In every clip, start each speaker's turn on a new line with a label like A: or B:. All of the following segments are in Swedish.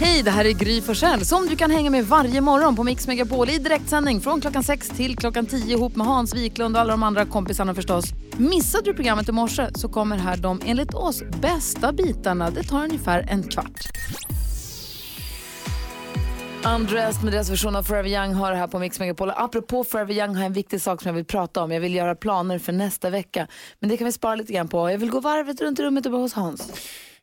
A: Hej, det här är Gry Forssell som du kan hänga med varje morgon på Mix Megapol i direktsändning från klockan 6 till klockan 10 ihop med Hans Wiklund och alla de andra kompisarna förstås. Missade du programmet i morse så kommer här de enligt oss bästa bitarna. Det tar ungefär en kvart. Undressed med deras version av Forever Young har det här på Mix Megapol. Och Apropå Forever Young har jag en viktig sak som jag vill prata om. Jag vill göra planer för nästa vecka. Men det kan vi spara lite grann på. Jag vill gå varvet runt i rummet och börja hos Hans.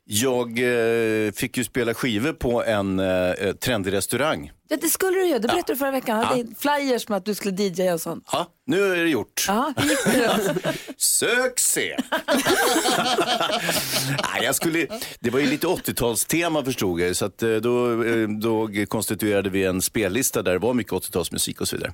B: Jag eh, fick ju spela skivor på en eh, trendig restaurang.
A: Ja, det skulle du göra. Det berättade du förra veckan. Jag hade flyers med att du skulle DJa och sånt.
B: Ja, nu är det gjort.
A: Ja, hur gick det då?
B: Succé! Nej, jag skulle, det var ju lite 80-talstema förstod jag ju, så att eh, då, eh, då konstituerade vi en spellista där det var mycket 80-talsmusik och så vidare.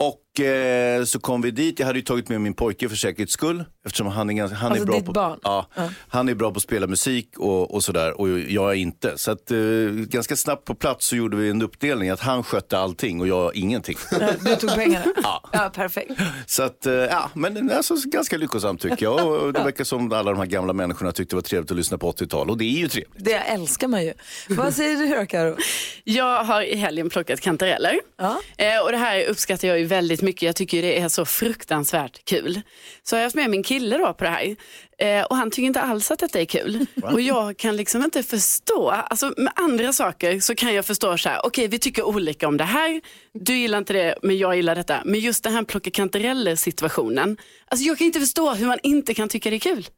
B: Och eh, så kom vi dit, jag hade ju tagit med min pojke för säkerhets skull eftersom han är, ganska, han
A: Alltså
B: är, bra,
A: ditt
B: på,
A: barn?
B: Ja, han är bra på att spela musik och, och sådär och jag är inte. Så att, eh, ganska snabbt på plats så gjorde vi en uppdelning att han skötte allting och jag ingenting.
A: Du tog pengarna? Ja. perfekt.
B: Så att, eh, ja, men alltså, ganska lyckosamt tycker jag. Och och det verkar som alla de här gamla människorna tyckte det var trevligt att lyssna på 80-tal. Och det är ju trevligt.
A: Det älskar man ju. Vad säger du då, Karo?
C: Jag har i helgen plockat kantareller.
A: Ja.
C: Eh, och det här uppskattar jag ju väldigt mycket. Jag tycker ju det är så fruktansvärt kul. Så har jag haft med min kille då på det här. Eh, och han tycker inte alls att detta är kul. Och jag kan liksom inte förstå. Alltså med andra saker så kan jag förstå så här. Okej, vi tycker olika om det här. Du gillar inte det, men jag gillar detta. Men just det här plocka kantareller situationen. Alltså jag kan inte förstå hur man inte kan tycka det är kul.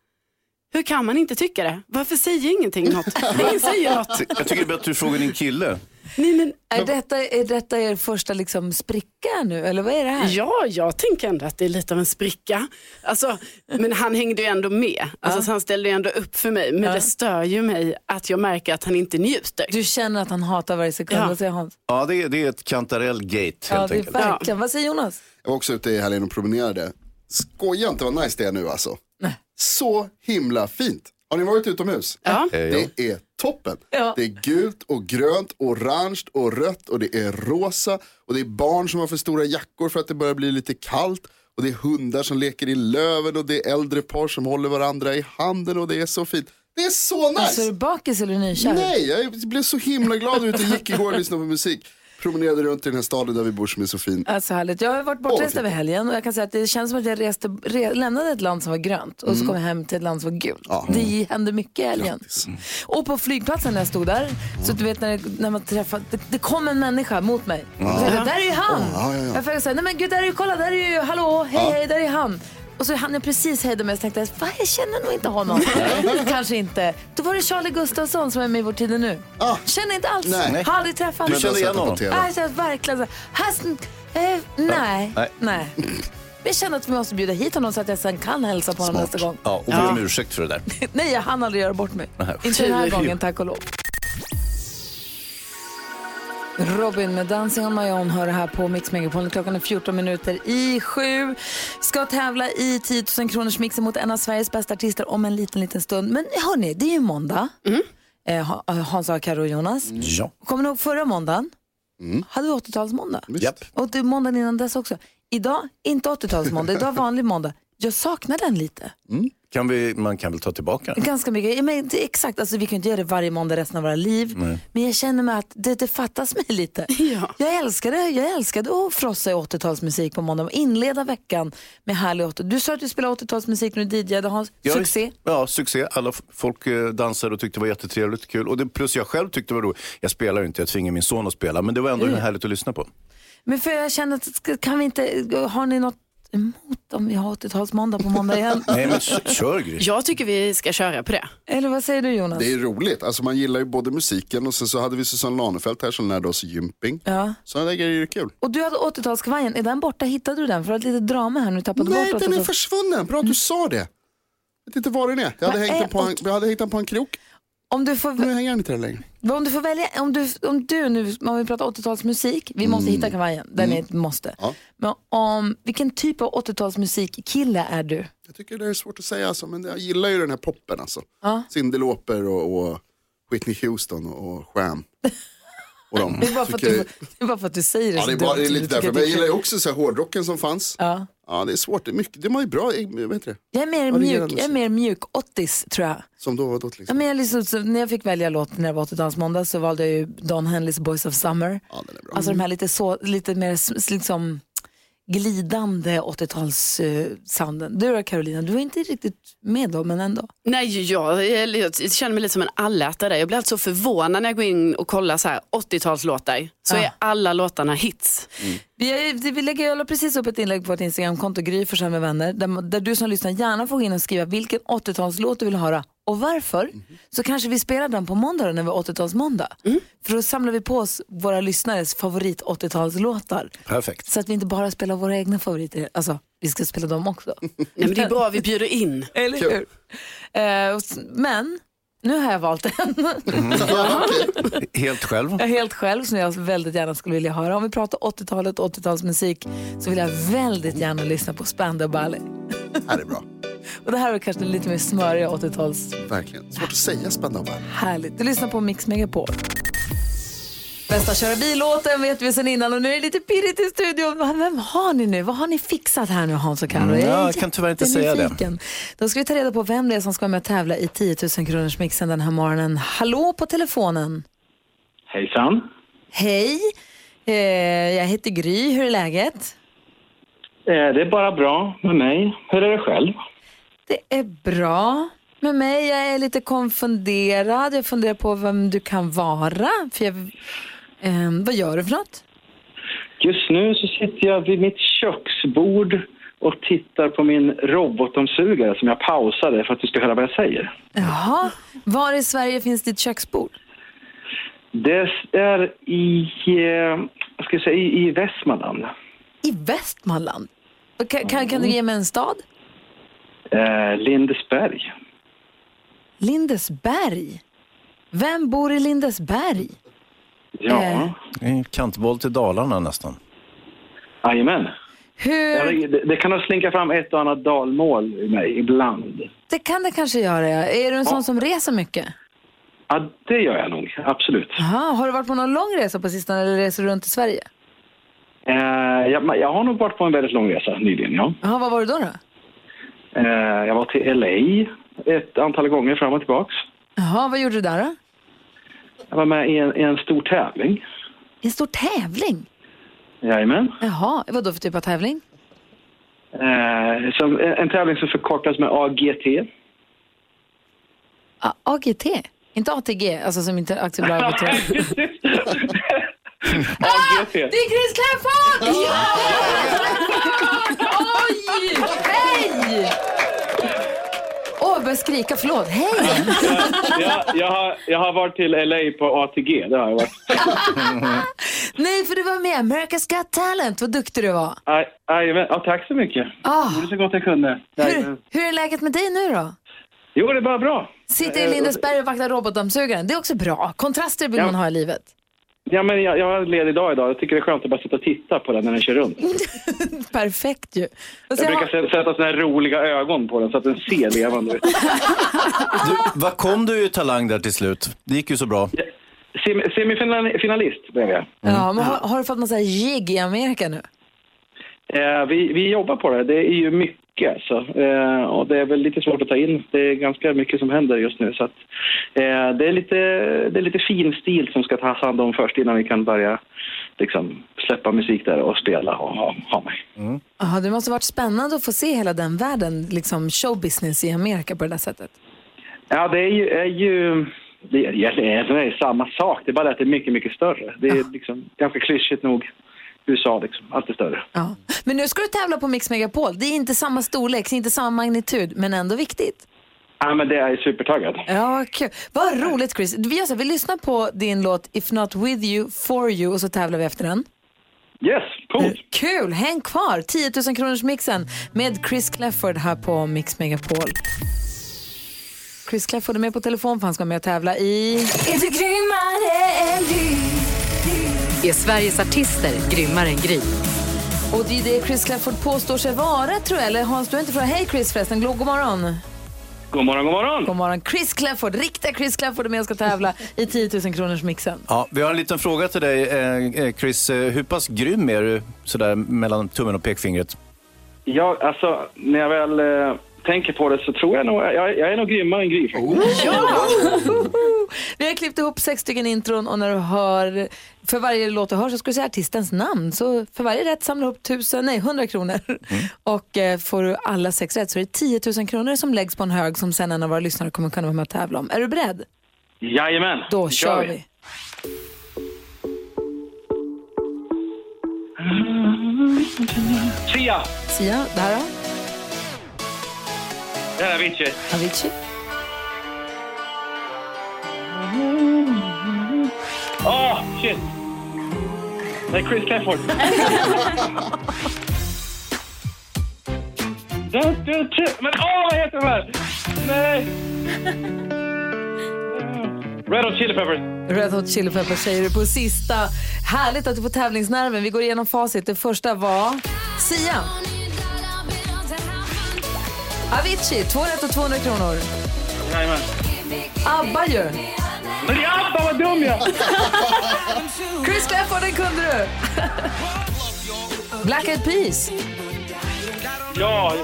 C: Hur kan man inte tycka det? Varför säger ingenting något? Ingen säger något.
B: Jag tycker det är bättre att du frågar din kille.
C: Nej, men
A: Är detta, är detta er första liksom spricka nu, eller vad är det här?
C: Ja, jag tänker ändå att det är lite av en spricka. Alltså, men han hängde ju ändå med. Alltså, så Han ställde ju ändå upp för mig. Men det stör ju mig att jag märker att han inte njuter.
A: Du känner att han hatar varje sekund,
C: Ja.
A: vad säger Hans?
B: Ja, det är, det är ett kantarell-gate
A: Ja,
B: helt
A: det är
B: enkelt.
A: verkligen. Vad säger Jonas?
D: Jag var också ute i helgen och promenerade. Skoja inte vad nice det är nu alltså. Så himla fint. Har ni varit utomhus?
C: Ja.
B: Eh, ja.
D: Det är toppen.
A: Ja.
D: Det är gult och grönt, orange och rött och det är rosa. Och det är barn som har för stora jackor för att det börjar bli lite kallt. Och det är hundar som leker i löven och det är äldre par som håller varandra i handen och det är så fint. Det är så nice!
A: Alltså, är du bakis eller nykär?
D: Nej, jag blev så himla glad ute och gick igår och lyssnade på musik. Promenerade runt i den här staden där vi bor som är så fin.
A: Alltså härligt. Jag har varit
D: Åh, vad
A: bortrest
D: fint.
A: över helgen och jag kan säga att det känns som att jag reste, re, lämnade ett land som var grönt och
D: Mm.
A: så kom jag hem till ett land som var gult. Det hände mycket i helgen.
D: Mm.
A: Och på flygplatsen när jag stod där, så du vet när, det- när man träffade, det, det kom en människa mot mig. Så jag tänkte, där är ju han!
D: ja, ja, ja.
A: Jag frågade såhär, nej men gud där är ju, kolla där är ju, hallå, hej hej, där är han. Och så hann jag precis hejda mig och så tänkte, jag, fan jag känner nog inte honom. Kanske inte. Då var det Charlie Gustafsson som är med i Vår tid är nu.
D: Ah.
A: Känner inte alls.
D: Nej.
A: Har aldrig träffat
B: Du
D: Men
B: känner
D: jag
B: igen
D: sätter på
B: honom?
D: TV.
A: Ja. Alltså, verkligen. så här, Här, sn- eh, nej.
B: Nej.
A: nej. Jag känner att vi måste bjuda hit honom så att jag sen kan hälsa på honom nästa gång.
B: Ja, och be om ursäkt för det där.
A: Nej, jag hann aldrig göra bort mig.
B: Nej.
A: Inte den här
C: Tur.
A: gången, tack och lov. Robin med Dancing on my own hör det här på Mix Megapol. Klockan är 14 minuter i sju. Ska tävla i 10 000 kronors mixen mot en av Sveriges bästa artister om en liten, liten stund. Men hörni, det är ju måndag. Eh, Ha- Hans, Karo och Jonas.
B: Ja.
A: Kommer ni ihåg förra måndagen? Hade vi 80-talsmåndag?
B: Japp.
A: Och det är måndagen innan dess också. Idag, inte 80-talsmåndag, idag vanlig måndag. Jag saknar den lite.
B: Mm. Kan vi, man kan väl ta tillbaka den?
A: Ganska mycket. Ja, Men, det, är exakt, alltså, vi kan ju inte göra det varje måndag resten av våra liv. Men jag känner mig att det, det fattas mig lite.
C: Ja.
A: Jag älskade, jag älskade att frossa i 80-talsmusik på måndag och inleda veckan med härlig 80 Du sa att du spelar 80-talsmusik när du DJade Hans.
B: Ja,
A: Succé.
B: visst. Ja, succé. Alla f- folk eh, dansade och tyckte det var jättetrevligt och kul. Och det, plus jag själv tyckte det var roligt. Jag spelar ju inte, jag tvingar min son att spela. Men det var ändå
A: Mm.
B: härligt att lyssna på.
A: Men för jag känner att, ska- kan vi inte, har ni något emot om vi har 80-talsmåndag på måndag igen?
B: Nej, men k- kör Gry.
C: Jag tycker vi ska köra på det.
A: Eller vad säger du Jonas?
D: Det är roligt. Alltså man gillar ju både musiken och sen så hade vi Susanne Lanefelt här som lärde oss gymping.
A: Ja.
D: Sådana där grejer är kul.
A: Och du hade 80-talskavajen, är den borta? Hittade du den? För att lite drama här nu, tappade
D: Nej,
A: bort
D: den är
A: 80-tals-
D: försvunnen. Bra att du sa det. Jag vet inte var den är. Jag hade,
A: Vad
D: hängt
A: är
D: den, på en, jag hade hängt den på en krok.
A: om, du får,
D: Nu hänger den inte där längre.
A: om du får välja, om du, om du nu, om vi pratar 80-talsmusik, vi
D: Mm.
A: måste hitta kavajen, den är ett måste.
D: Ja.
A: Men om, vilken typ av 80-talsmusikkille är du?
D: Jag tycker det är svårt att säga alltså, men jag gillar ju den här poppen alltså.
A: Ja.
D: Cyndi Lauper och, och Whitney Houston och, och Sham. och de.
A: Det är bara för att
D: tycker
A: du,
D: jag-
A: det är bara för att du säger det
D: Ja,
A: så
D: det är, bara,
A: dumt,
D: det är
A: så
D: lite
A: du tycker
D: därför.
A: att
D: Men jag
A: är
D: gillar
A: kul.
D: ju också så här hårdrocken som fanns.
A: Ja.
D: Ja, det är svårt. Det är mycket, de har ju bra, eh, vad heter det?
A: Jag är mer
D: Varierande
A: mjuk, jag är mer mjuk 80s tror jag.
D: Som då var då till
A: Ja,
D: exempel.
A: men jag liksom, så, när jag fick välja låt när det var 80 måndag så valde jag ju Don Henleys Boys of Summer.
D: Ja, den är bra. Mm.
A: Alltså de här lite, så, lite mer s- s- liksom, glidande 80-talssounden. du då Carolina, du var inte riktigt med då men ändå.
C: Nej, jag, jag, jag känner mig lite som en allätare. Jag blir alltid så förvånad när jag går in och kollar så här 80-talslåtar. Så
A: Ja.
C: är alla låtarna hits.
A: Vi, vi lägger, jag la precis upp ett inlägg på vårt Instagramkonto, Gry Forssell med vänner, där, där du som lyssnar gärna får gå in och skriva vilken 80-talslåt du vill höra och varför. Så kanske vi spelar den på måndag då, när vi har 80-talsmåndag. För då samlar vi på oss våra lyssnares favorit 80-talslåtar.
B: Perfekt.
A: Så att vi inte bara spelar våra egna favoriter, alltså vi ska spela dem också.
C: Nej, men det är bra vi bjuder in.
A: Eller hur? Eh, och s- men nu har jag valt en
B: Helt själv.
A: Jag är helt själv som jag väldigt gärna skulle vilja höra. Om vi pratar 80-talet och 80-talsmusik så vill jag väldigt gärna lyssna på Spandau Ballet.
D: Det här är bra.
A: Och det här är kanske lite mer smöriga 80-tals.
D: Verkligen. Svårt att säga spännande.
A: Härligt. Du lyssnar på Mix Megapol. Bästa köra bil-låten vet vi sedan innan och nu är det lite pirrigt i studion. Va- Vem har ni nu? Vad har ni fixat här nu Hans och Carro?
B: Mm,
A: är
B: jag kan tyvärr inte säga det.
A: jättenyfiken. Då ska vi ta reda på vem det är som ska vara med och tävla i 10 000 kronors mixen den här morgonen. Hallå på telefonen.
E: Hejsan.
A: Hej, eh, jag heter Gry. Hur är läget?
E: Eh, Det är bara bra med mig. Hur är det själv?
A: Det är bra med mig. Jag är lite konfunderad. Jag funderar på vem du kan vara. För jag, ehm, vad gör du för något?
E: Just nu så sitter jag vid mitt köksbord och tittar på min robotdammsugare som jag pausade för att du ska höra vad jag säger.
A: Jaha, var i Sverige finns ditt köksbord?
E: Det är i, eh, vad ska jag säga, i, i Västmanland.
A: I Västmanland. Och Kan, kan, kan du ge mig en stad?
E: Eh, Lindesberg.
A: Lindesberg. Vem bor i Lindesberg? Eh.
E: Ja,
B: En Eh, Kantboll till Dalarna nästan.
E: jajamän.
A: Hur,
E: Det, det kan nog slinka fram ett och annat dalmål i mig ibland.
A: det kan det kanske göra. ja. Är du en sån som reser mycket?
E: Ja, det gör jag nog, absolut.
A: Aha, har du varit på någon lång resa på sistone eller reser du runt i Sverige?
E: Eh, jag, jag har nog varit på en väldigt lång resa nyligen, ja.
A: Jaha, vad var du då? då?
E: Eh, Jag var till LA ett antal gånger fram och tillbaks.
A: Jaha, vad gjorde du där då?
E: Jag var med i en, i en stor tävling.
A: I en stor tävling?
E: Jajamän.
A: Jaha, vad då för typ av tävling?
E: Eh, som, en, en tävling som förkortas med AGT.
A: A- AGT? Inte ATG, alltså som inte aktiebolag. Ah,
E: AGT.
A: det är Chris Kläfford! Ja! Oj! Hej! Åh, jag börjar skrika. Förlåt. Hej!
E: Jag, jag, har, jag har varit till LA på ATG. Det har jag varit.
A: Nej, för du var med. America's Got Talent. Vad duktig du var.
E: Aj- Ah, Jajamän. Ja, tack så mycket.
A: Ah.
E: Jag gjorde så gott jag kunde.
A: Hur,
E: Jajamän.
A: hur är läget med dig nu då?
E: Jo, det är bara bra.
A: Sitter i Lindesberg och vaktar robotdammsugaren. Det är också bra. Kontraster vill
E: Eh, Ja.
A: man ha i livet.
E: Ja, men jag, jag har en ledig dag idag. Jag tycker det är skönt att bara sitta och titta på den när den kör runt.
A: Perfekt ju. Och
E: Jag
A: sen
E: brukar
A: har-
E: sä- sätta såna här roliga ögon på den så att den ser levande ut.
B: Du, vad kom du i talang där till slut? Det gick ju så bra.
E: Sem- Semifinalist blev jag.
A: ja, men har,
E: Mm.
A: har du fått någon sån här jigg i Amerika nu?
E: Eh, vi, vi jobbar på det. Det är ju mycket. Så, eh, och det är väl lite svårt att ta in. Det är ganska mycket som händer just nu. Så att, eh, det, är lite, det är lite fin stil som ska tas hand om först innan vi kan börja liksom, släppa musik där och spela och ha, ha mig.
A: Aha, det måste ha varit spännande att få se hela den världen, liksom showbusiness i Amerika på det där sättet.
E: Ja, det är ju... Är ju det är, det är, det är samma sak, det är bara det att det är mycket, mycket större. Det är liksom, ganska klyschigt nog. USA liksom, allt är större.
A: Ja. Men nu ska du tävla på Mix Megapol. Det är inte samma storlek, det är inte samma magnitud, men ändå viktigt.
E: Ja, men det är supertaggad.
A: Ja, vad kul. Vad roligt Chris. Vi, gör så här, vi lyssnar på din låt If Not With You, For You och så tävlar vi efter den. Eh,
E: Yes, coolt!
A: Kul! Häng kvar! 10 000 kronors mixen med Chris Clefford här på Mix Megapol. Chris Clefford är med på telefon för han ska med och tävla i...
F: Är du grymmare än du?
G: Är Sveriges artister grymmare än Gry?
A: Och det är det Chris Clefford påstår sig vara tror jag. Eller Hans, du har inte frågat. Hej Chris förresten, god god morgon.
E: God morgon, god morgon!
A: God morgon. Chris Clafford, riktiga Chris Clafford är med och ska tävla i 10 000 kronors mixen.
B: Ja, vi har en liten fråga till dig, eh, eh, Chris. Eh, Hur pass grym är du sådär mellan tummen och pekfingret?
E: Jag, alltså, när jag väl eh, tänker på det så tror jag nog... Jag, jag är nog grymmare än Gry. faktiskt.
A: Oh. Vi har klippt ihop sex stycken intron och när du hör, för varje låt du hör så ska du säga artistens namn. Så för varje rätt samlar du upp tusen, nej 100 kronor. Och eh, får du alla sex rätt så är det 10 000 kronor som läggs på en hög som sen en av våra lyssnare kommer kunna vara med och tävla om. Är du beredd?
E: Jajamän!
A: Då kör vi.
E: Sia!
A: Sia, det här då?
E: Det här är Avicii.
A: Avicii?
E: Åh, Ah, shit! Det är Chris Clafford. Du, du, du. Men åh, vad heter de här? Nej! Red Hot Chili Peppers.
A: Red Hot Chili Peppers säger du på sista. Härligt att du får tävlingsnerven. Vi går igenom facit. Det första var Sia. Avicii, två rätt och 200 kronor.
E: Jajamän.
A: ABBA ju.
E: Men det är ABBA, vad dum jag är!
A: Chris Clafford, den kunde du. Black Eyed Peas.
E: Ja,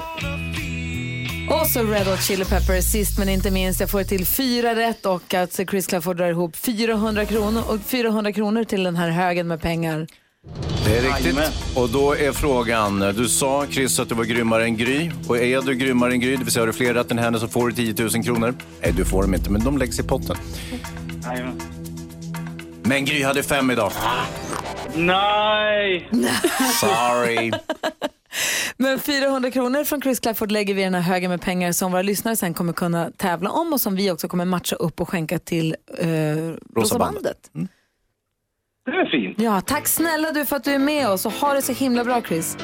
A: Och så Red Hot Chili Peppers sist men inte minst. Jag får till fyra rätt och att Chris Clafford drar ihop 400 kronor, och 400 kronor till den här högen med pengar.
B: Det är riktigt.
E: Jajamän.
B: Och då är frågan, du sa Chris att du var grymmare än Gry. Och är du grymmare än Gry, det vill säga har du fler rätt än henne så får du 10 000 kronor. Nej, du får dem inte, men de läggs i potten.
E: jajamän.
B: Men Gry hade fem idag.
E: Nej!
B: Sorry.
A: Men 400 kronor från Chris Clafford lägger vi i den här högen med pengar som våra lyssnare sen kommer kunna tävla om och som vi också kommer matcha upp och skänka till eh, Rosa bandet.
E: Det är fint.
A: Ja, tack snälla du för att du är med oss och ha det så himla bra Chris.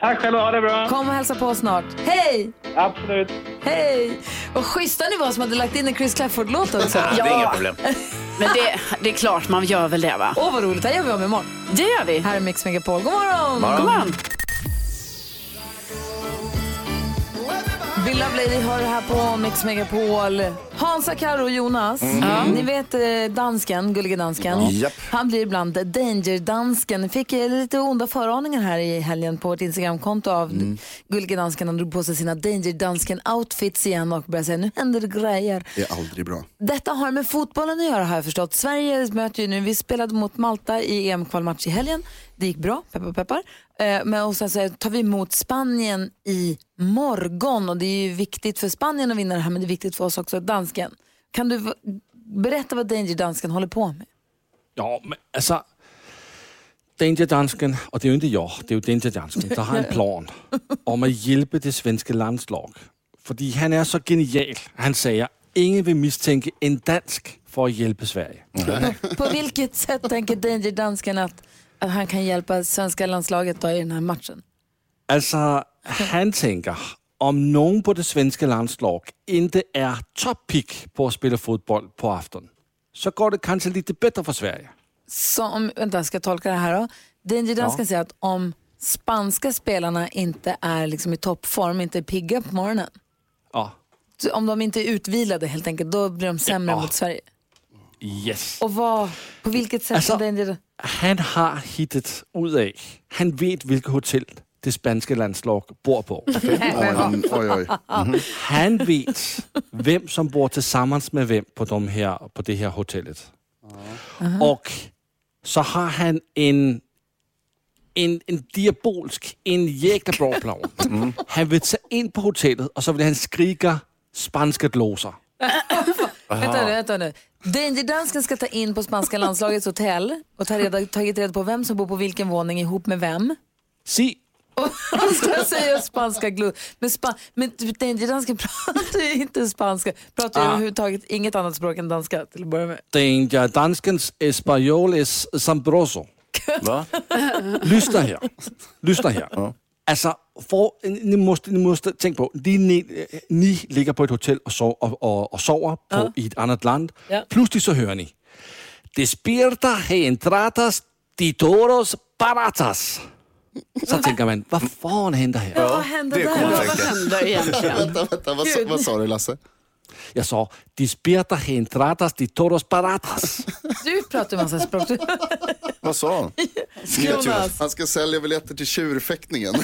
E: Tack själva, ha det bra.
A: Kom och hälsa på oss snart. Hej!
E: Absolut.
A: Hej! Och schyssta ni var som hade lagt in en Chris Clafford-låt också.
B: Ja, Det är inga problem.
C: Men det, det är klart man gör väl det va?
A: Åh vad roligt, det här gör vi om imorgon.
C: Det gör vi.
A: Här är Mix Megapol, god morgon!
C: Kom on.
A: Bill Love Lady har det här på Mix Megapol. Hansa, Karo och Jonas, ni vet eh, dansken, gullige dansken.
B: Japp.
A: Han blir ibland danger-dansken. Fick eh, lite onda föraningar här i helgen på ett Instagramkonto av gullige dansken. Han drog på sig sina danger-dansken-outfits igen och började säga nu händer det grejer.
D: Det är aldrig bra.
A: Detta har med fotbollen att göra har jag förstått. Sverige möter ju nu, vi spelade mot Malta i EM-kvalmatch i helgen. Det gick bra, peppar peppar. Eh, men och sen så tar vi emot Spanien i morgon och det är ju viktigt för Spanien att vinna det här men det är viktigt för oss också, dansken. Kan du v- berätta vad Danger Dansken håller på med?
H: Ja, men alltså, altså... Danger Dansken, och det är ju inte jag, det är ju Danger Dansken, der har en plan om att hjälpa det svenska landslaget. Fordi han är så genial. Han säger, ingen vill misstänka en dansk för att hjälpa Sverige.
A: På vilket sätt tänker Danger Dansken att, att han kan hjälpa svenska landslaget då i den här matchen?
H: Altså, han tänker, om någon på det svenska landslaget inte är toppick på att spela fotboll på afton, så går det kanske lite bättre för Sverige.
A: som, vänta ska jag tolka det här då? Danger Dansken säger att om spanska spelarna inte är liksom i toppform, inte är pigga på morgonen,
H: Ja.
A: så om de inte är utvilade helt enkelt, då blir de sämre mot Sverige.
H: Yes.
A: Och vad, på vilket sätt
H: Alltså-
A: som Danger...
H: Han har hittat ud af, han vet hvilket hotel det spanske landslag bor på.
D: Oj, oj, oj.
H: Han vet, hvem som bor tillsammans med vem på, de her, på det her hotellet. Och så har han en, en, en diabolsk, en jäkla plan.
D: Mhm.
H: Han vill ta in på hotellet och så vill han skrika spanska låser.
A: Vänta nu, vänta nu. Danger Dansken ska ta in på spanska landslagets hotell och ta reda, tagit reda på vem som bor på vilken våning ihop med vem.
H: Se,
A: Han ska säga spanska glo... Men, spa, men Danger Dansken pratar ju inte spanska. Pratar
H: Ah.
A: ju överhuvudtaget inget annat språk än danska till att börja med.
H: Danger Danskens Espanol es Sambroso.
B: Va?
H: Lyssna här. Lyssna här. Alltså, för, ni, måste, ni måste tänka på, de ni, eh, ni ligger på ett hotell och, sov, och, och, och sover på, i ett annat land. Plötsligt så hör ni. Despierta entratas de toros baratas. Så tänker man, vad fan händer här?
A: Ja, vad händer
B: det
A: där?
B: kommer
A: Ja,
B: jag
A: vad
B: tänka.
C: händer egentligen?
D: Vänta, vänta, vad, sa- vad sa du Lasse?
H: Jag sa, despierta entradas de toros paradas.
A: Du pratar ju massa språk. Du-
B: Vad sa han?
A: Jonas.
D: Han ska sälja biljetter till tjurfäktningen.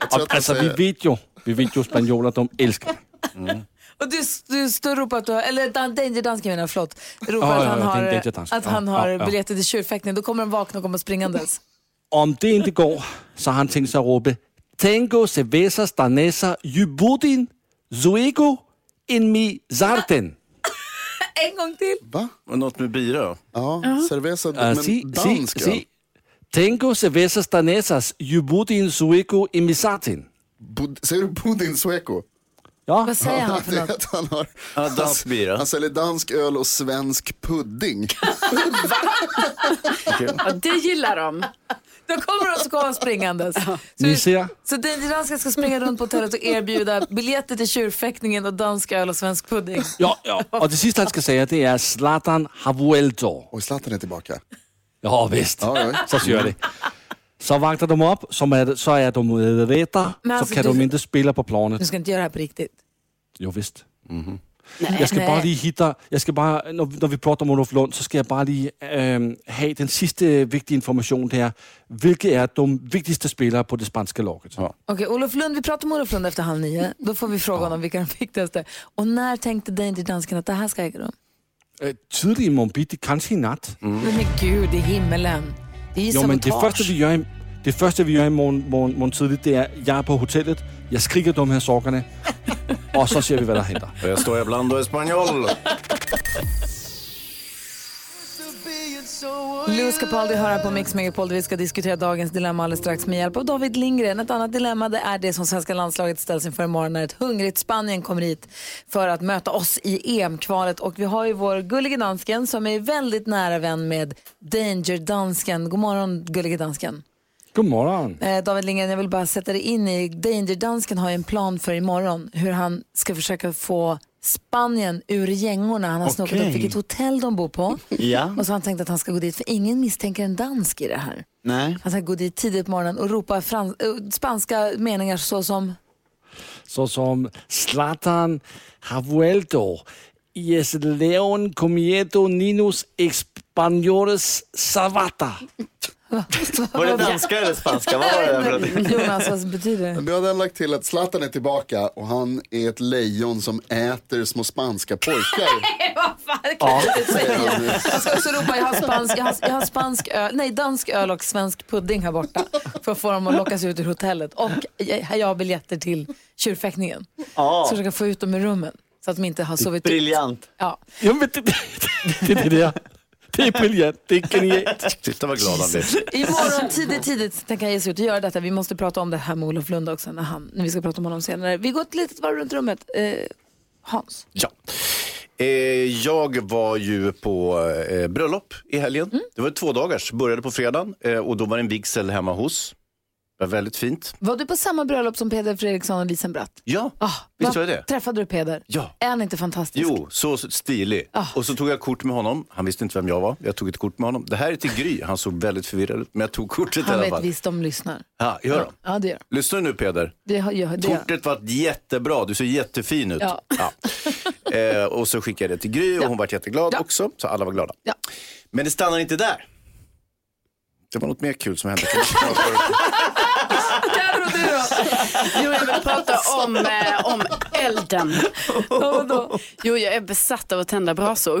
D: Jag tror att
H: Och,
D: han
H: alltså, vi
D: säger-
H: vet ju, vi vet ju spanjorer, de älskar det.
A: Och du, du står och ropar att du har, eller dan, Danger Dansken menar jag, förlåt. Ropar
H: Ja,
A: att
H: ja,
A: han
H: ja,
A: har,
H: Dan- Danger Dansken.
A: att han
H: Ja,
A: har
H: ja, ja.
A: biljetter till tjurfäktning. Då kommer de vakna och komma springandes.
H: Om det inte går så har han tänkt sig att ropa Tango, cerveza, stanesa, jubudin, zuego, in mi zarten.
A: En gång till.
D: Va?
B: Och Något med bira?
D: Ja, cerveza,
H: Uh,
D: men
H: si, si,
D: dansk öl.
H: si. Tango, cerveza, stanesas, jubudin, zuego, in mi zarten.
D: Bud- Säger du Budin Sueco?
H: Ja,
A: Vad säger han för
D: Det är
A: något?
D: att han, har,
B: Ja, dansk bira.
D: han säljer dansk öl och svensk pudding.
C: Ja, det gillar de.
A: Då kommer de och så kommer de springandes. Så,
H: ni
A: vi-
H: ser.
A: så Danger Dansken ska springa runt på hotellet och erbjuda biljetter till tjurfäktningen och dansk öl och svensk pudding.
H: Ja, ja. Och det sista han ska säga det är Zlatan har vuelto.
D: Oj, Zlatan är tillbaka.
H: Ja, visst.
D: Ja, ja.
H: Så kör det. Så vaknar de upp, så är, så är de rädda,
A: Men
H: så
A: alltså,
H: kan
A: du-
H: de inte spela på
A: Du
H: planet.
A: ska inte göra det här på riktigt.
H: Jo, visst. Jag ska
A: nej.
H: bara lige hitta, jag ska bara, när, vi- när vi pratar om Olof Lund, så ska jag bara lige ehm, ha den sista viktiga informationen här. Vilka är de viktigaste spelarna på det spanska laget?
A: Okej, Olof Lund, vi pratar med Olof Lund efter halv
H: Mm.
A: nio. Då får vi fråga honom vilka de viktigaste är. Och när tänkte Danger Dansken att det här ska äga rum?
H: Eh, tidigt i morgon bitti, kanske i natt.
A: Men gud, det är himmelen. Det är ju
H: Jo, Mm. men det
A: sabotage.
H: första vi gör, i- det första vi gör i morgon, morgon, morgon tidigt, det är jag är på hotellet, jag skriker de här sakerna och så ser vi vad som händer.
B: Jag står ibland och espanjol.
A: Louis Capaldi hör här på Mix Megapol där vi ska diskutera dagens dilemma alldeles strax med hjälp av David Lindgren. Ett annat dilemma det är det som svenska landslaget ställs inför imorgon när ett hungrigt Spanien kommer hit för att möta oss i EM-kvalet. Och vi har ju vår gullige dansken som är väldigt nära vän med Danger Dansken. God morgon gullige dansken.
H: God morgon.
A: Eh, David Lindgren, jag vill bara sätta dig in i, Danger Dansken har ju en plan för imorgon hur han ska försöka få Spanien ur gängorna. Han har snott upp
I: Okej.
A: vilket hotell de bor på.
I: Ja.
A: Och så har han tänkt att han ska gå dit, för ingen misstänker en dansk i det här.
I: Nej.
A: Han ska gå dit tidigt på morgonen och ropa frans- eh, spanska meningar såsom
H: Så som Zlatan har vuelto y es león comiendo ninos españoles sabata.
I: Var det danska eller spanska? Vad var det för någonting?
A: Jonas, alltså, vad betyder det?
D: Men jag hade lagt till att Zlatan är tillbaka och han är ett lejon som äter små spanska pojkar.
A: Jag ska också ropa, jag har spansk, jag har, jag har spansk öl, nej dansk öl och svensk pudding här borta. För att få dem att lockas ut ur hotellet. Och jag, jag har biljetter till tjurfäktningen.
I: Ja.
A: Så jag ska få ut dem ur rummen. Så att de inte har sovit ut.
I: Briljant.
A: Ja.
H: Ja, men det, det, det, det, där. det är briljant, det är genialt.
B: Titta vad glad han blir.
A: Imorgon tidigt, tidigt tänker jag ge sig ut och göra detta. Vi måste prata om det här med Olof Lund också när, han, när vi ska prata om honom senare. Vi går ett litet varv runt rummet. Eh, Hans,
B: Ja. Eh, jag var ju på eh, bröllop i helgen.
A: Mm.
B: Det var två dagars. Började på fredagen eh, och då var det en vigsel hemma hos. Det var väldigt fint.
A: var du på samma bröllop som Peder Fredriksson och Wiesenbratt?
B: Ja,
A: Ah,
B: visst
A: vad-
B: var jag det?
A: Träffade du Peder?
B: Ja.
A: Är han inte fantastisk?
B: Jo, så stilig.
A: Ah.
B: Och så tog jag kort med honom. Han visste inte vem jag var. Jag tog ett kort med honom. Det här är till Gry. Han såg väldigt förvirrad ut, men jag tog kortet i
A: Han
B: alla
A: vet
B: fall.
A: visst de lyssnar.
B: Ja, gör de.
A: Ja, det gör
B: Lyssna nu Peder.
A: det har- gör, det gör.
B: Kortet var jättebra, du ser jättefin ut.
A: Ja.
B: Ja. Eh, och så skickade jag det till Gry och hon var jätteglad också, så alla var glada.
A: Ja.
B: Men det stannar inte där. Det var något mer kul som hände.
C: Jo, jag vill prata om, eh, om elden. Jo, jag är besatt av att tända brasor.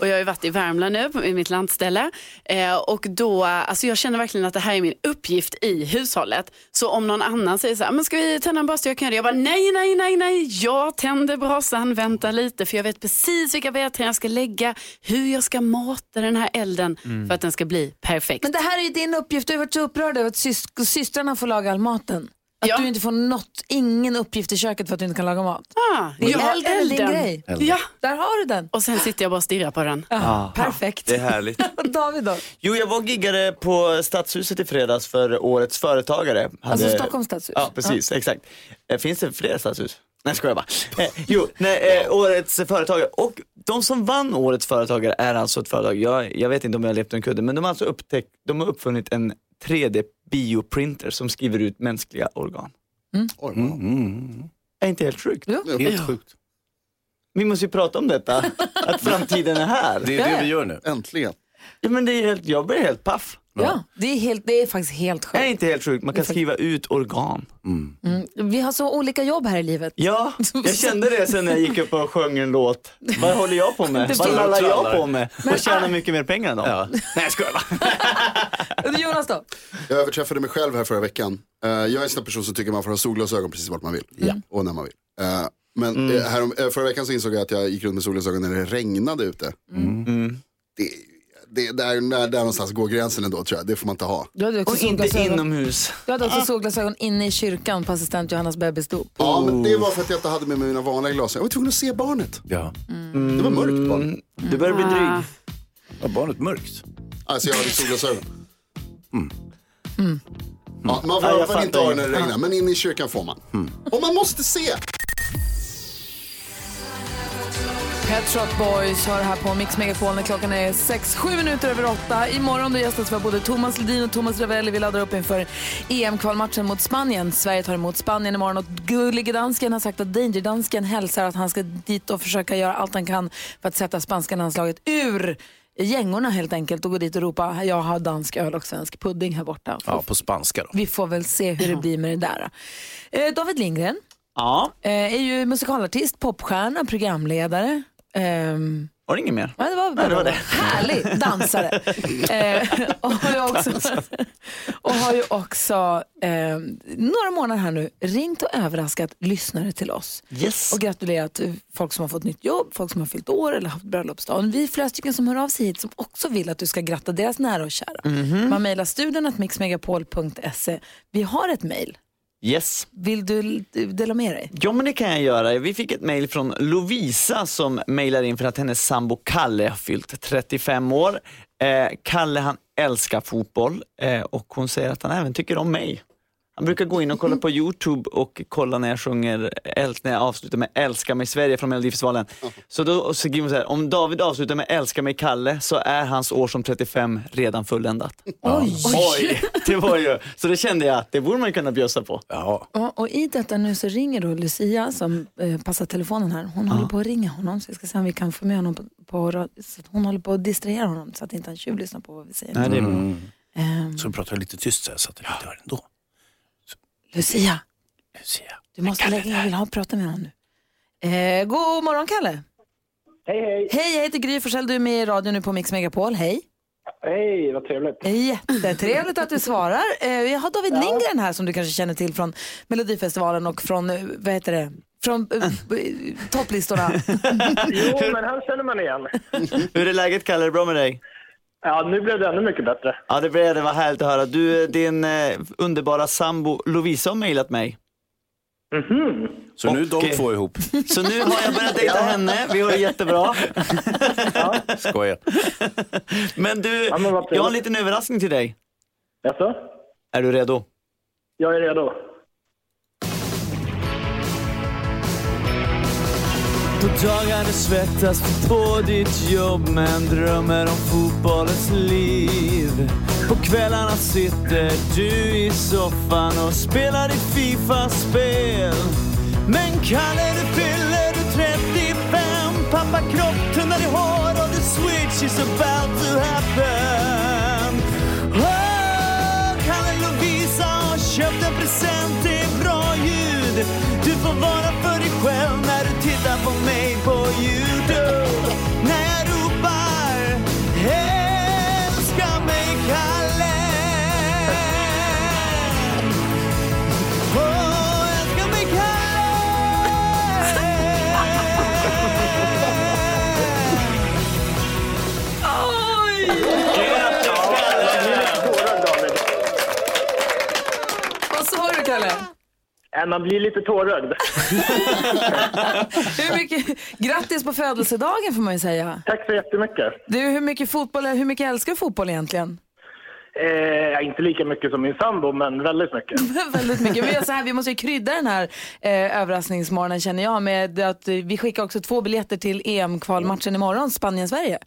C: Och jag har ju varit i Värmland nu, på- i mitt landställe. Eh, och då, eh, alltså jag känner verkligen att det här är min uppgift i hushållet. Så om någon annan säger så här, men ska vi tända en brasa? Jag kan göra det. Jag bara, nej, nej, nej, nej. Jag tänder brasan, vänta lite. För jag vet precis vilka vedträn jag ska lägga, hur jag ska mata den här elden för att den ska bli perfekt.
A: Men det här är ju din uppgift. Du har varit så upprörd över att sys- systrarna får laga all maten. Att
C: Ja.
A: du inte får något, ingen uppgift i köket för att du inte kan laga mat.
C: ah,
A: Det är
C: jag har
A: elden är din grej.
C: Ja,
A: Där har du den.
C: och sen sitter jag bara och stirrar på den.
A: Ja, perfekt.
I: Det är härligt.
A: Och David då?
I: Jo, jag var och giggade på Stadshuset i fredags för årets företagare.
A: Alltså
I: Hade-
A: Stockholms stadshus.
I: Ja, precis. Exakt. Eh, Finns det fler stadshus? Nej, skojar bara. Eh, jo, nej, eh, årets företagare. Och De som vann Årets företagare är alltså ett företag, jag, jag vet inte om jag har levt under kudden, men de har alltså upptäckt, de har uppfunnit en 3D-bioprinter som skriver ut mänskliga organ.
D: Oj, wow.
B: Mm, mm,
I: Är inte helt sjukt?
A: Jo.
B: mm. Helt sjukt.
I: Vi måste ju prata om detta, att framtiden är här.
B: Det är det vi gör nu.
D: Äntligen.
I: Ja, men det är helt, jag blir helt paff.
A: Ja, det är, helt, det är faktiskt helt
I: Är
A: sjukt.
I: inte helt sjukt? Man kan skriva ut organ.
B: Mm.
A: Mm. Vi har så olika jobb här i livet.
I: Ja, jag kände det sen när jag gick upp och sjöng en låt. Vad håller jag på med? Vad lallar jag på med? Och tjänar mycket mer pengar än dem. Nej, jag skojar bara.
A: Jonas då?
D: Jag överträffade mig själv här förra veckan. Eh, jag är en sån där person som tycker man får ha solglasögon precis vart man vill.
A: Mm.
D: Och när man vill. Eh, men
I: Mm.
D: eh, härom, eh, förra veckan så insåg jag att jag gick runt med solglasögon när det regnade ute.
A: Mm.
I: Mm.
D: Det, det, där, där, där någonstans går gränsen ändå tror jag. Det får man inte ha.
A: Du hade också
I: Och inte
A: solglasögon,
I: inomhus.
A: du hade också solglasögon inne i kyrkan på assistent Johannas bebisdop.
D: Ja, men det var för att jag inte hade med mig mina vanliga glasögon. Jag var tvungen att se barnet.
B: Ja.
D: Det var mörkt barn.
I: Mm, Du börjar bli dryg.
B: Var barnet mörkt?
D: Alltså jag hade solglasögon. Ja, man får
I: Ja, jag
D: i alla fall inte ha
I: fattar
D: det när det regnar, men inne i kyrkan får man. Och man måste se!
A: Pet Shop Boys hör här på Mix Megapol när klockan är 6-7 minuter över 8. Imorgon då gästas vi av både Thomas Ledin och Thomas Ravelli. Vi laddar upp inför EM-kvalmatchen mot Spanien. Sverige tar emot Spanien imorgon och gullige dansken har sagt att Danger-dansken hälsar att han ska dit och försöka göra allt han kan för att sätta spanska landslaget ur gängorna helt enkelt och gå dit och ropa jag har dansk öl och svensk pudding här borta.
B: Ja, på spanska då.
A: Vi får väl se hur det blir med det där. Eh, David Lindgren
I: Ja,
A: eh, är ju musikalartist, popstjärna, programledare. Ehm,
I: var det inget mer?
A: Ja, det var,
I: Nej, det var det.
A: Härlig dansare. eh, och har ju också, och har ju också eh, några månader här nu ringt och överraskat lyssnare till oss
I: Yes.
A: och gratulerat folk som har fått nytt jobb, folk som har fyllt år eller haft bröllopsdag. Och Vi är flera stycken som hör av sig hit som också vill att du ska gratta deras nära och kära. Man mejlar studion att mixmegapol.se. Vi har ett mejl.
I: Yes.
A: Vill du l- dela med dig?
I: Ja men det kan jag göra. Vi fick ett mejl från Lovisa som mejlar in för att hennes sambo Kalle har fyllt 35 år. Eh, Kalle han älskar fotboll eh, och hon säger att han även tycker om mig. Han brukar gå in och kolla på Youtube och kolla när jag sjunger, äl- när jag avslutar med Älska mig Sverige från Melodifestivalen. Så då skriver hon så här, om David avslutar med Älska mig Kalle så är hans år som 35 redan fulländat.
A: Oj!
I: Oj, det var ju, så det kände jag att det borde man ju kunna bjussa på.
B: Ja.
A: Ja, och i detta nu så ringer då Lucia som eh, passar telefonen här. Hon håller på att ringa honom så jag ska se om vi kan få med honom på, på ra- så att Hon håller på att distrahera honom så att inte han tjuvlyssnar på vad vi säger.
I: Nej, det är bra.
A: Ehm,
B: Mm. Så pratar jag lite tyst så här, så att jag inte hör ändå.
A: Lucia,
B: Nu ser jag.
A: du måste lägga in. Jag vill ha prata med honom nu. Eh, god morgon Kalle!
E: Hej, hej.
A: Hej, jag heter Gry Forssell. Du är med i radio nu på Mix Megapol. Hej!
E: Hej, vad trevligt.
A: Jättetrevligt att du svarar. Eh, jag har David Lindgren här som du kanske känner till från Melodifestivalen och från, eh, vad heter det, från
I: Ah.
A: eh, b- topplistorna.
E: Jo, men han känner man igen.
I: Hur är läget Kalle, är det bra med dig?
E: Ja, nu blev det ännu mycket bättre.
I: Ja, det blev det. Vad härligt att höra. Du, din eh, underbara sambo Lovisa har mejlat mig.
E: Mhm.
B: Så nu är de
I: Okej.
B: två ihop.
I: Så nu har jag börjat dejta henne. Vi har det jättebra.
B: Skojar.
I: Men du,
E: men vad trevligt.
I: jag har en liten överraskning till dig.
E: Jaså?
I: Är du redo?
E: Jag är redo.
I: På dagar det svettas på ditt jobb men drömmer om fotbollens liv. På kvällarna sitter du i soffan och spelar ditt Fifa-spel. Men Kalle, du fyller du 35. Pappa kropp tunnar i hår och the switch is about to happen. Åh, Kalle Lovisa har köpt en present, det är bra ljud. Du får vara för dig själv när du tittar på mig på Youtube. När jag ropar älska mig Kalle. Åh, älska mig Kalle.
E: Tårar, David.
A: Vad sa du Kalle?
J: Eh,
E: Äh, Man blir lite tårögd.
A: Hur mycket, grattis på födelsedagen får man ju säga.
E: Tack så jättemycket.
A: Du, hur mycket fotboll, hur mycket älskar du fotboll egentligen?
J: Eh, inte lika mycket som min sambo, men väldigt mycket.
A: Väldigt mycket. Vi, gör så här, vi måste ju krydda den här eh, överraskningsmorgonen känner jag med att eh, vi skickar också två biljetter till EM-kvalmatchen imorgon, Spanien-Sverige.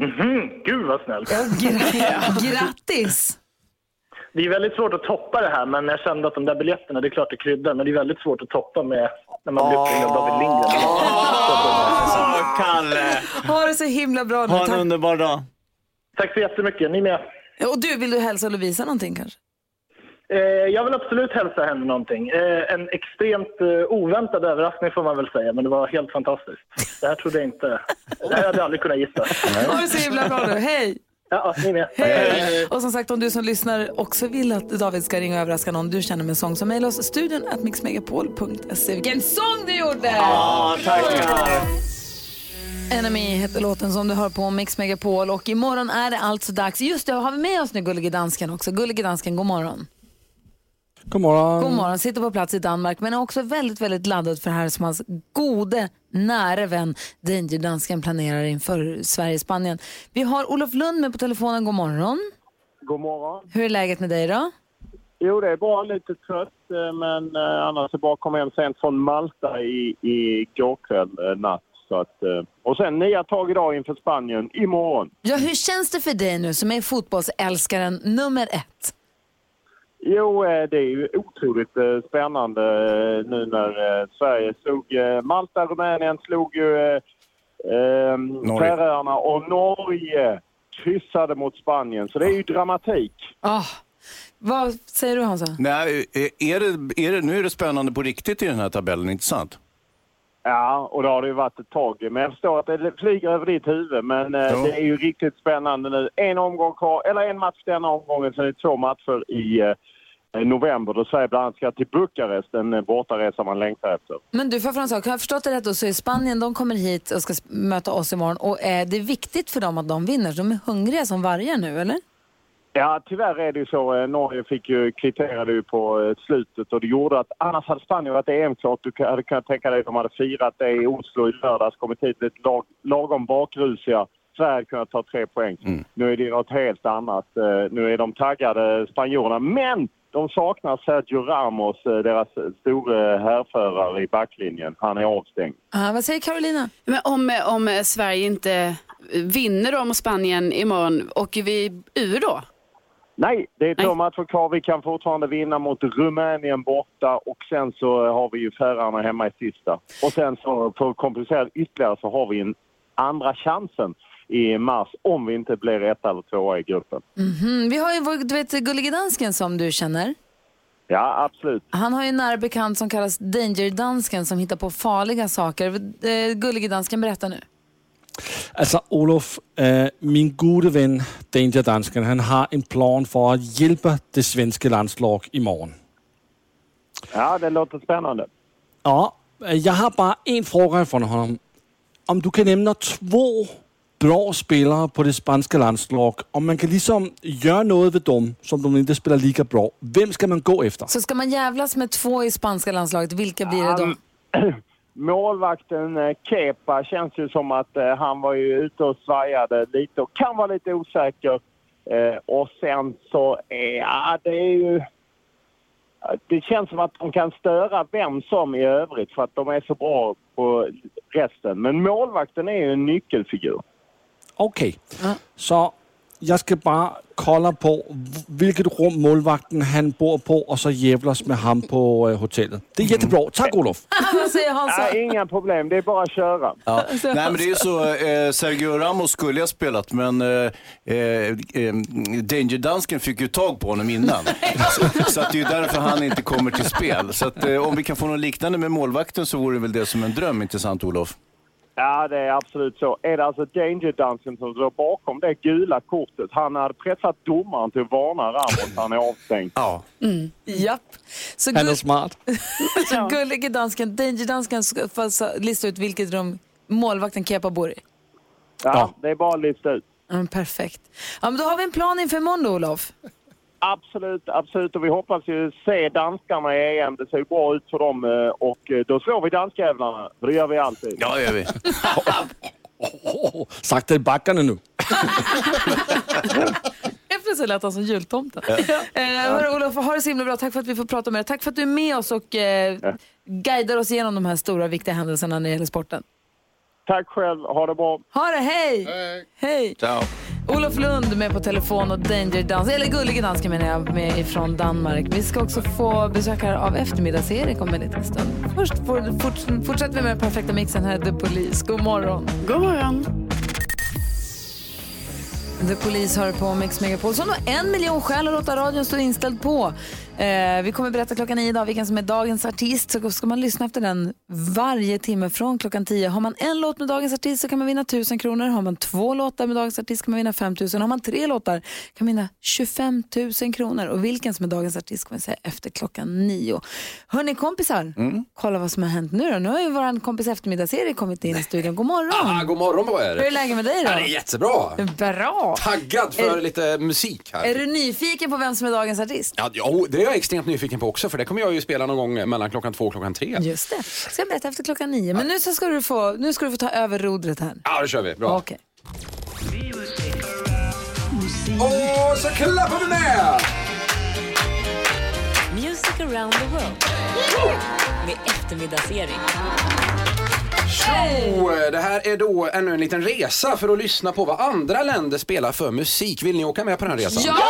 J: Mhm, gud vad snällt.
A: Gra- Grattis!
J: Det är väldigt svårt att toppa det här, men jag kände att de där biljetterna, det är klart det kryddar, men det är väldigt svårt att toppa med när man blir uppringd av David Lindgren.
I: Åh, Kalle!
A: Ha det så himla bra nu.
I: Ha en
A: Tack.
I: underbar dag.
J: Tack så jättemycket, ni med.
A: Och du, vill du hälsa Lovisa någonting kanske?
J: Eh, jag vill absolut hälsa henne någonting. Eh, en extremt eh, oväntad överraskning får man väl säga, men det var helt fantastiskt. Det här trodde jag inte. Det här hade jag aldrig kunnat gissa.
A: Ha det så himla bra nu. Hej!
J: Ja, ni med.
A: Och som sagt, om du som lyssnar också vill att David ska ringa och överraska någon du känner med en sång, så mejla oss studion at mixmegapol.se. Vilken sång du gjorde!
I: Ja, tackar.
A: Enemy heter låten som du hör på Mix Megapol och imorgon är det alltså dags. Just det, har vi med oss nu Gullige Dansken också. Gullige Dansken, god morgon.
H: Godmorgon.
A: God morgon, sitter på plats i Danmark men är också väldigt, väldigt laddad för det här som hans gode, nära vän Danger Dansken planerar inför Sverige-Spanien. Vi har Olof Lund med på telefonen, god morgon.
J: God morgon.
A: Hur är läget med dig då?
J: Jo, det är bra. Lite trött, eh, men eh, annars är det bara att komma hem sent från Malta i, i går kväll, eh, natt. Så att, eh, och sen nya tag idag inför Spanien, imorgon.
A: Ja, hur känns det för dig nu som är fotbollsälskaren nummer ett?
J: Jo, eh, det är ju otroligt eh, spännande eh, nu när eh, Sverige slog eh, Malta, Rumänien slog ju eh, eh,
B: Norge.
J: Färöarna och Norge kryssade mot Spanien. Så det är ju dramatik.
A: Ah, vad säger du Hansa?
B: Nej, eh, är det, är det, nu är det spännande på riktigt i den här tabellen, inte sant?
J: Ja, och det har det ju varit ett tag. Men jag förstår att det flyger över ditt huvud. Men eh,
B: Ja.
J: det är ju riktigt spännande nu. En omgång kvar, eller en match denna omgången. Sen är det två matcher i eh, november då Sverige bland annat ska till Bukarest. En eh, bortaresa man längtar efter.
A: Men du, får jag fråga en sak. Har jag förstått det rätt då, så är Spanien, de kommer hit och ska s- möta oss imorgon och är det viktigt för dem att de vinner? De är hungriga som vargar nu, eller?
J: Ja, tyvärr är det ju så. Eh, Norge fick ju, kvitterade ju på eh, slutet och det gjorde att annars hade Spanien varit EM-klart. Du kan- hade kunnat tänka dig att de hade firat det i Oslo i lördags, kommit hit lite lag, lagom bakrusiga. Sverige hade kunnat ta tre poäng. Nu är det något helt annat. Eh, Nu är de taggade, spanjorerna. Men de saknar Sergio Ramos, eh, deras store härförare i backlinjen. Han är avstängd.
A: Ah, vad säger Carolina?
C: Men om, eh, om eh, Sverige inte vinner då mot Spanien imorgon, åker vi ur då?
J: Nej, det är två
C: Nej.
J: matcher kvar. Vi kan fortfarande vinna mot Rumänien borta och sen så eh, har vi ju Färöarna hemma i sista. Och sen så, för att komplicera ytterligare så har vi en andra chansen i mars om vi inte blir etta eller tvåa i gruppen.
A: Mhm, Vi har ju vår, du vet, Gullige Dansken som du känner.
J: Ja, absolut.
A: Han har ju en nära bekant som kallas Danger Dansken som hittar på farliga saker. Eh, Gullige Dansken, berätta nu.
H: Altså, Olof, øh, min gode ven, Danger Dansken, han har en plan for at hjælpe det svenske landslag i morgen.
J: Ja, det låter spännande.
H: Og øh, jeg har bare en fråga fra ham. Om du kan nævne to bra spillere på det spanske landslag, om man kan ligesom gøre noget ved dem, som de ikke spiller lika bra. Hvem skal man gå efter?
A: Så ska man jävlas med två i spanska landslaget, vilka blir det då?
J: Um, Målvakten eh, Kepa känns ju som att eh, han var ju ute och svajade lite och kan vara lite osäker. Eh, och sen så, eh, ja det är ju... Det känns som att de kan störa vem som i övrigt för att de är så bra på resten. Men målvakten är ju en nyckelfigur.
H: Okay. Så jeg skal bare kolde på, hvilket rum målvagten han bor på, og så jævles med ham på øh, hotellet. Det er jättebra. Tak, Olof.
A: Vad säger Hansa?
J: Nej, inga problem, det är bara att köra.
B: Ja.
J: Alltså,
B: Nej, men det är ju så. Eh, Sergio Ramos skulle ha spelat, men eh, eh, eh, Danger Dansken fick ju tag på honom innan. så, så att det är ju därför han inte kommer till spel. Så att, eh, om vi kan få något liknande med målvakten så vore väl det som en dröm, inte sant Olof?
J: Ja, det är absolut så. Är det alltså Danger Dancing som står bakom det gula kortet? Han hade pressat domaren till att varna Ramos. Han är avstängd.
B: Ja.
A: Mm. Japp. Så
H: Han er
A: gull-
H: smart.
A: Så gullige dansken, Danger dansken ska få alltså lista ut vilket rum målvakten Kepa bor i.
J: Ja,
H: Ja.
J: det är bara att lista ut.
A: Ja, men perfekt. Ja, men då har vi en plan inför imorgon då, Olof.
J: Absolut, absolut. Och vi hoppas ju se danskarna i EM. Det ser ju bra ut för dem. eh, Och eh, då slår vi danskjävlarna. För det gör vi alltid.
B: Ja, det gör vi.
H: Sagt det i bakkerne nu.
A: Efter så så lät han som jultomten. Eh, hörru, Olof, ha det så himla bra. Tack för att vi får prata med dig. Tack för att du är med oss och eh, guidar oss igenom de här stora viktiga händelserna när det gäller sporten.
J: Tack själv, ha det bra.
A: Ha det, hej!
J: Hej.
A: Hej!
B: Ciao.
A: Olof Lund med på telefon och Danger Dance, eller Gullige Dansken menar jag, med från Danmark. Vi ska också få besökare av eftermiddags-Erik om en liten stund. Först får, fort, fortsätter vi med den perfekta mixen här, The Police. God morgon!
C: God morgon!
A: The Police hör på Mix Megapol som har en miljon skäl att låta radion stå inställd på. Eh, vi kommer berätta klockan nio idag vilken som är dagens artist. Så ska man lyssna efter den varje timme från klockan tio. Har man en låt med dagens artist så kan man vinna tusen kronor. Har man två låtar med dagens artist kan man vinna 5 000. Har man tre låtar kan man vinna 25 000 kronor. Och vilken som är dagens artist kommer vi säga efter klockan nio. Hörni kompisar, kolla vad som har hänt nu då. Nu har ju vår kompis eftermiddagsserie kommit in i studion. God morgon!
K: Ah, god morgon på er!
A: Mm. Hur är läget med dig då?
K: Ja, det är jättebra!
A: Bra!
K: Taggad för
A: Är-
K: lite musik här.
A: Är du nyfiken på vem som är dagens artist?
K: Ja, jo, det är jag extremt nyfiken på också för det kommer jag ju spela någon gång mellan klockan två och klockan tre.
A: Just det. Ska jag berätta efter klockan nio. Men nu så ska du få, nu ska du få ta över rodret här.
K: Ja, då kör vi. Bra.
A: Okej.
K: Och så klappar vi med!
L: Music around the world. Med eftermiddagsserie.
K: Tjo! Det här är då ännu en liten resa för att lyssna på vad andra länder spelar för musik. Vill ni åka med på den här resan?
M: Ja!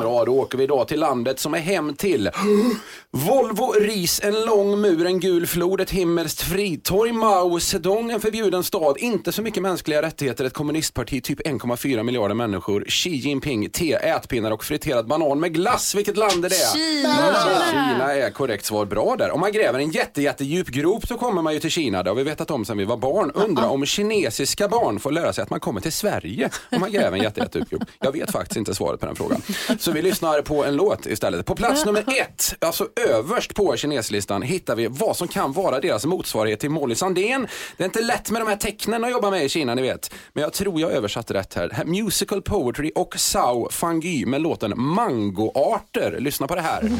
K: Bra, då åker vi idag till landet som är hem till Volvo, ris, en lång mur, en gul flod, ett himmelskt fritorg, Mao Zedong, en förbjuden stad, inte så mycket mänskliga rättigheter, ett kommunistparti, typ 1,4 miljarder människor, Xi Jinping, te, ätpinnar och friterad banan med glass. Vilket land är det?
M: Kina!
K: Kina är korrekt svar. Bra där. Om man gräver en jätte, jättedjup grop så kommer man ju till Kina. Det har vi vetat om sedan vi var barn. Undrar om kinesiska barn får lära sig att man kommer till Sverige om man gräver en jätte, jättedjup grop. Jag vet faktiskt inte svaret på den frågan. Så vi lyssnar på en låt istället. På plats nummer ett, alltså överst på kineslistan, hittar vi vad som kan vara deras motsvarighet till Molly Sandén. Det är inte lätt med de här tecknen att jobba med i Kina, ni vet. Men jag tror jag översatte rätt här. här musical Poetry och Sao Fangy med låten Mangoarter. Lyssna på det här.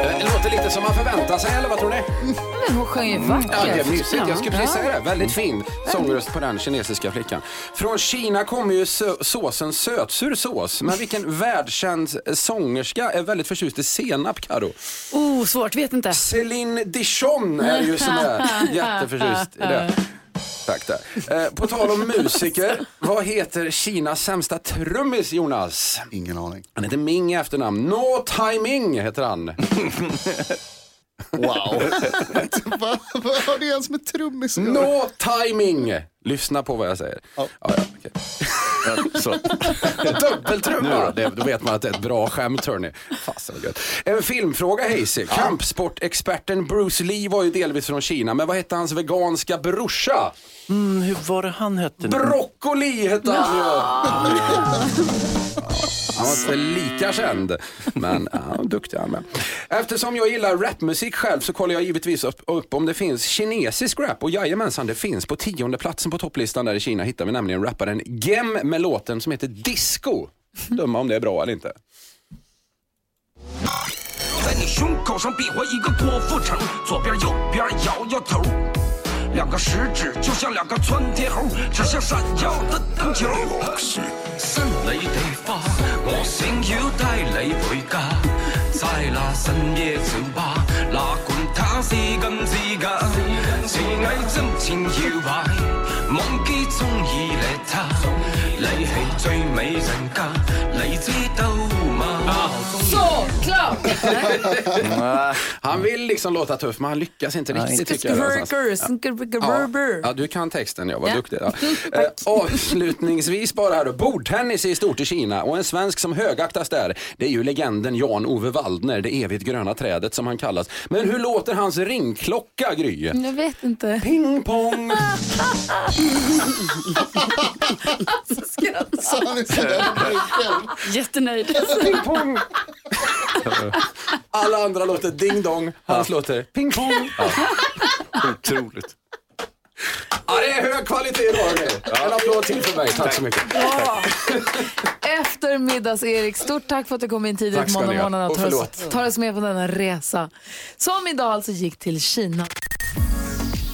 K: Eh, Låter lite som man förväntar sig, eller vad tror ni? Mm.
A: Men hon sjöng ju vackert.
K: Ja, det är mysigt. Jag skulle precis
A: Ja.
K: säga det. Väldigt fin sångröst på den kinesiska flickan. Från Kina kommer ju sö- såsen sötsur sås. Men vilken världskänd sångerska är väldigt förtjust i senap, Karo?
C: Oh, svårt, vet inte.
K: Céline Dion är ju som är jätteförtjust i det. Tack där. Eh, på tal om musiker, vad heter Kinas sämsta trummis Jonas?
D: Ingen aning.
K: Han heter Ming i efternamn. No Timing heter han.
D: Wow. Vad vad har det ens med trummis att göra?
K: No timing! Lyssna på vad jag säger. Ja. Ja, okej.
B: Nu
K: Dubbeltrumma!
B: då?
K: Det, då vet man att det är ett bra skämt hörni. Fasen vad gött. En filmfråga Hayes. Kampsportexperten Bruce Lee var ju delvis från Kina, men vad hette hans veganska brorsa?
B: Mm, hur var det han hette? nu?
K: Broccoli hette han ju! Han var inte lika känd, men ja, duktig han med. Eftersom jag gillar rapmusik själv så kollar jag givetvis upp, upp om det finns kinesisk rap och jajamensan det finns. På tionde platsen på topplistan där i Kina hittar vi nämligen rapparen Gem med låten som heter Disco. Döma om det är bra eller inte.
N: 在你胸口上比划一个郭富城，左边右边摇摇头，两个食指就像两个窜天猴，指向闪耀的灯球。新你地花，我想要帶你回家，在那深夜酒吧，哪管他是金是假，是偽真前搖擺，忘記中意你他，你係最美人家，你知道嗎？
K: Mm. Han vill liksom låta tuff men han lyckas inte riktigt tycker jag. någonstans. Ja. Ja, ja, du kan texten, jag var
M: Ja.
K: duktig. Ja. Eh, avslutningsvis bara här då. Bordtennis är stort i Kina och en svensk som högaktas där, det är ju legenden Jan-Ove Waldner, det evigt gröna trädet som han kallas. Men hur låter hans ringklocka, Gry?
A: Jag vet inte.
K: Ping pong.
D: Så han är sådär
C: Jättenöjd.
K: Ping pong. Alla andra låter ding dong, hans låter ping pong. Ja.
B: Otroligt.
K: Ja, det är hög kvalitet idag. hörni. En applåd till för mig. Tack, så mycket.
A: Bra. Eftermiddags-Erik, stort tack för att du kom in
K: Tack
A: tidigt
K: ska
A: måndag
K: ni ha.
A: morgon och
K: Och
A: tar oss,
K: förlåt.
A: tar oss med på denna resa. Som idag alltså gick till Kina.